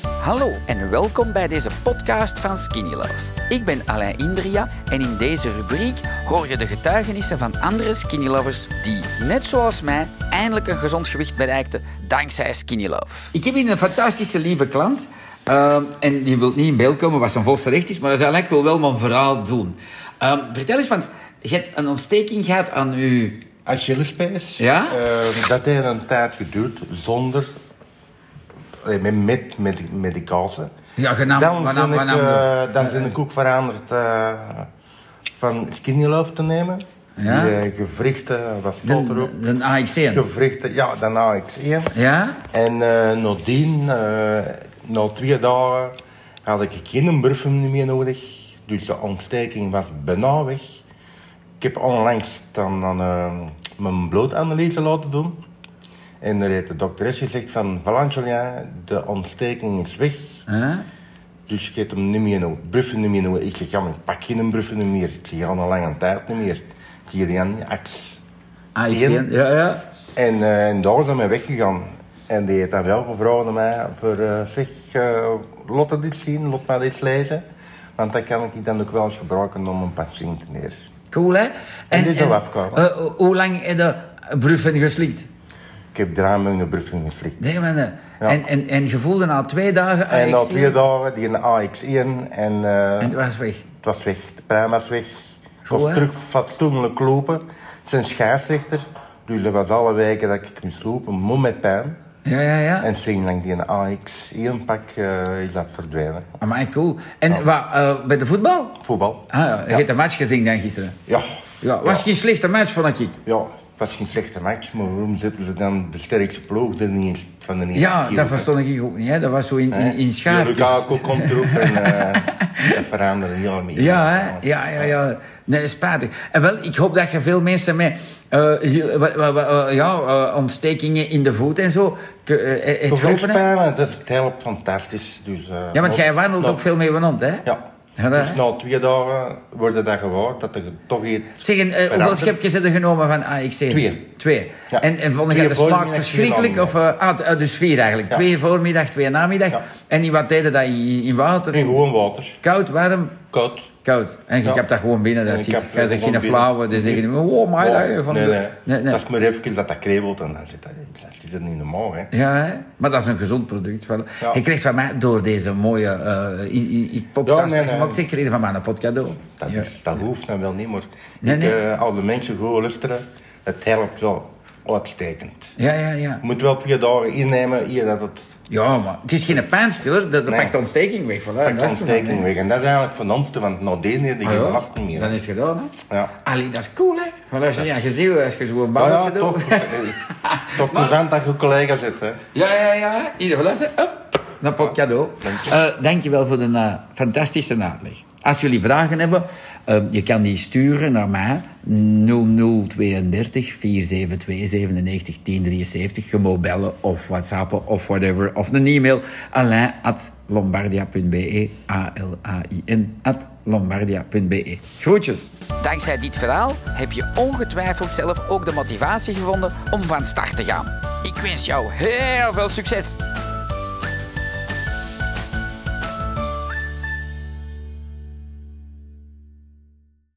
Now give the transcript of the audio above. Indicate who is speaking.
Speaker 1: Hallo en welkom bij deze podcast van Skinny Love. Ik ben Alain Indria en in deze rubriek hoor je de getuigenissen van andere Skinny Lovers die, net zoals mij, eindelijk een gezond gewicht bereikten dankzij Skinny Love. Ik heb hier een fantastische lieve klant. ehm, en die wil niet in beeld komen wat zijn volste recht is, maar dat is eigenlijk wil wel mijn verhaal doen. Ehm, vertel eens, want je hebt een ontsteking gehad aan uw
Speaker 2: Achillespees.
Speaker 1: Ja?
Speaker 2: Ehm, dat heeft een tijd geduurd zonder... eh, Met, met, met medicatie.
Speaker 1: Ja, genaamd-
Speaker 2: Dan
Speaker 1: waarnaam-
Speaker 2: ben ik,
Speaker 1: waarnaam-
Speaker 2: eh, dan ben ik ook veranderd eh, van skinny love te nemen.
Speaker 1: Ja?
Speaker 2: Die, eh, gewrichten, wat stond
Speaker 1: de,
Speaker 2: erop?
Speaker 1: de, de AXN.
Speaker 2: Gewrichten, ja, daarna ik zie hem.
Speaker 1: Ja?
Speaker 2: En eh, nadien, eh, na twee dagen, had ik geen burfum meer nodig. Dus de ontsteking was bijna weg. Ik heb onlangs dan, dan, eh, mijn bloedanalyse laten doen. En er heeft de dokteres gezegd van... Voilà, Julia, de ontsteking is weg.
Speaker 1: Huh?
Speaker 2: Dus je hebt hem niet meer nodig. Bruffen niet meer nodig. Ik zeg, ja, maar ik pak geen bruffen meer. Ik zeg, al een lange tijd niet meer. Ik zeg, die aan die aks.
Speaker 1: AXN, ja, ja.
Speaker 2: En, eh, en daar zijn we weggegaan. En die heeft dan wel gevraagd aan mij voor eh, zeg, eh laat dat dit zien, laat mij dit lezen. Want dat kan ik dan ook wel eens gebruiken om een patiënt neer.
Speaker 1: Cool, hè? En,
Speaker 2: die zou afkomen.
Speaker 1: eh, ho- hoe lang heb je bruffen geslikt?
Speaker 2: Ik heb drie maanden bruffen geslikt.
Speaker 1: Nee, maar, eh, en, en, en je voelde na twee dagen... ah,
Speaker 2: En
Speaker 1: ik
Speaker 2: na
Speaker 1: zie
Speaker 2: twee
Speaker 1: het.
Speaker 2: dagen die een AX1 en eh,
Speaker 1: En het was weg.
Speaker 2: het was weg. De pijn was weg. Het
Speaker 1: Goed, hè?
Speaker 2: was terug fatsoenlijk lopen. Zijn scheidsrechter. Dus dat was alle weken dat ik moest lopen, moe met pijn.
Speaker 1: Ja, ja, ja.
Speaker 2: En sinds dat ik die AX1 pak, eh, is dat verdwenen.
Speaker 1: Amai, cool. En wat, eh, bij de voetbal?
Speaker 2: Voetbal.
Speaker 1: Ah, ja. Je hebt de match gezien dan gisteren.
Speaker 2: Ja,
Speaker 1: Ja, was geen slechte match, vond ik.
Speaker 2: Ja, het was geen slechte match, maar waarom zetten ze dan de sterkste ploeg er niet eens van de eerste
Speaker 1: Ja,
Speaker 2: keer
Speaker 1: dat
Speaker 2: op,
Speaker 1: verstond ik ook niet, hè. Dat was zo in,
Speaker 2: hè?
Speaker 1: in, in
Speaker 2: Die
Speaker 1: schaafjes.
Speaker 2: Lukaku komt erop en eh dat veranderen ja meer.
Speaker 1: Ja, hè? ja, ja, ja. Nee, spijtig. En wel, ik hoop dat je veel mensen met eh, hier- wa- wa- wa- eh, ja, eh, ontstekingen in de voet en zo ke- eh, eh, het helpen. hè?
Speaker 2: Gewrichtspijnen, dat het helpt fantastisch. Dus, eh,
Speaker 1: Ja, want
Speaker 2: ook-
Speaker 1: jij wandelt
Speaker 2: nou,
Speaker 1: ook veel mee van hond, hè?
Speaker 2: Ja.
Speaker 1: Ja, dat-
Speaker 2: dus na twee dagen worden dat gewaard, dat er toch iets...
Speaker 1: Zeg, en, eh, hoeveel
Speaker 2: verandert.
Speaker 1: schepjes hebben genomen van AXC?
Speaker 2: Twee.
Speaker 1: Twee.
Speaker 2: Ja.
Speaker 1: En, en vond jij
Speaker 2: Twee
Speaker 1: de
Speaker 2: voormiddag,
Speaker 1: smaak
Speaker 2: twee
Speaker 1: verschrikkelijk? Of, eh, ah, t- eh, dus vier eigenlijk.
Speaker 2: Ja.
Speaker 1: Twee voormiddag, twee namiddag.
Speaker 2: Ja.
Speaker 1: En in wat deden dat? In, in water?
Speaker 2: In gewoon water,
Speaker 1: Koud, warm?
Speaker 2: koud.
Speaker 1: Koud. En je
Speaker 2: Ja.
Speaker 1: hebt dat gewoon binnen,
Speaker 2: En
Speaker 1: dat
Speaker 2: ik
Speaker 1: ziet.
Speaker 2: heb
Speaker 1: Jij
Speaker 2: dat
Speaker 1: zegt
Speaker 2: gewoon
Speaker 1: geen
Speaker 2: binnen.
Speaker 1: flauwe, dan zeggen die, oh my,
Speaker 2: Wow.
Speaker 1: dat- van
Speaker 2: nee,
Speaker 1: de-
Speaker 2: nee.
Speaker 1: Nee, nee.
Speaker 2: Dat is maar even dat dat kriebelt en dan zit dat... Dat is het niet normaal, hè.
Speaker 1: Ja, hè? maar dat is een gezond product. Wel.
Speaker 2: Ja.
Speaker 1: Je krijgt van mij, door deze mooie eh, i- i- i- podcast,
Speaker 2: Ja, nee, nee.
Speaker 1: je mag zeker ieder van mij een podcast
Speaker 2: Dat,
Speaker 1: ja.
Speaker 2: is, dat hoeft dan wel niet, maar
Speaker 1: Nee,
Speaker 2: ik,
Speaker 1: nee.
Speaker 2: eh, al de mensen gewoon luisteren, het helpt wel uitstekend.
Speaker 1: ja, ja, ja.
Speaker 2: Je moet wel twee dagen innemen eer dat het
Speaker 1: Ja, maar het is geen pijnstiller, dat, dat
Speaker 2: Nee.
Speaker 1: pakt de ontsteking weg. Voilà,
Speaker 2: pakt de ontsteking weg. En dat is eigenlijk van ons, want na die neer die
Speaker 1: Ah, ja.
Speaker 2: geen last meer.
Speaker 1: Dan
Speaker 2: hè.
Speaker 1: is het gedaan, hè?
Speaker 2: Ja.
Speaker 1: Allee, dat is cool, hè? Want als je, ja, je ziet, als je zo'n
Speaker 2: Maar
Speaker 1: balletje
Speaker 2: Ah, ja,
Speaker 1: doet...
Speaker 2: toch, eh, toch plezant dat je collega zit, hè.
Speaker 1: Ja, ja, ja. Ieder geluisterd. Up. Naar pot cadeau. Dank dankjewel voor de eh, fantastische uitleg. Als jullie vragen hebben, eh, je kan die sturen naar mij. 0032 472 97 1073. Je mag bellen of whatsappen of whatever. Of een e-mail. Alain at lombardia.be. A-L-A-I-N at lombardia.be. Groetjes. Dankzij dit verhaal heb je ongetwijfeld zelf ook de motivatie gevonden om van start te gaan. Ik wens jou heel veel succes!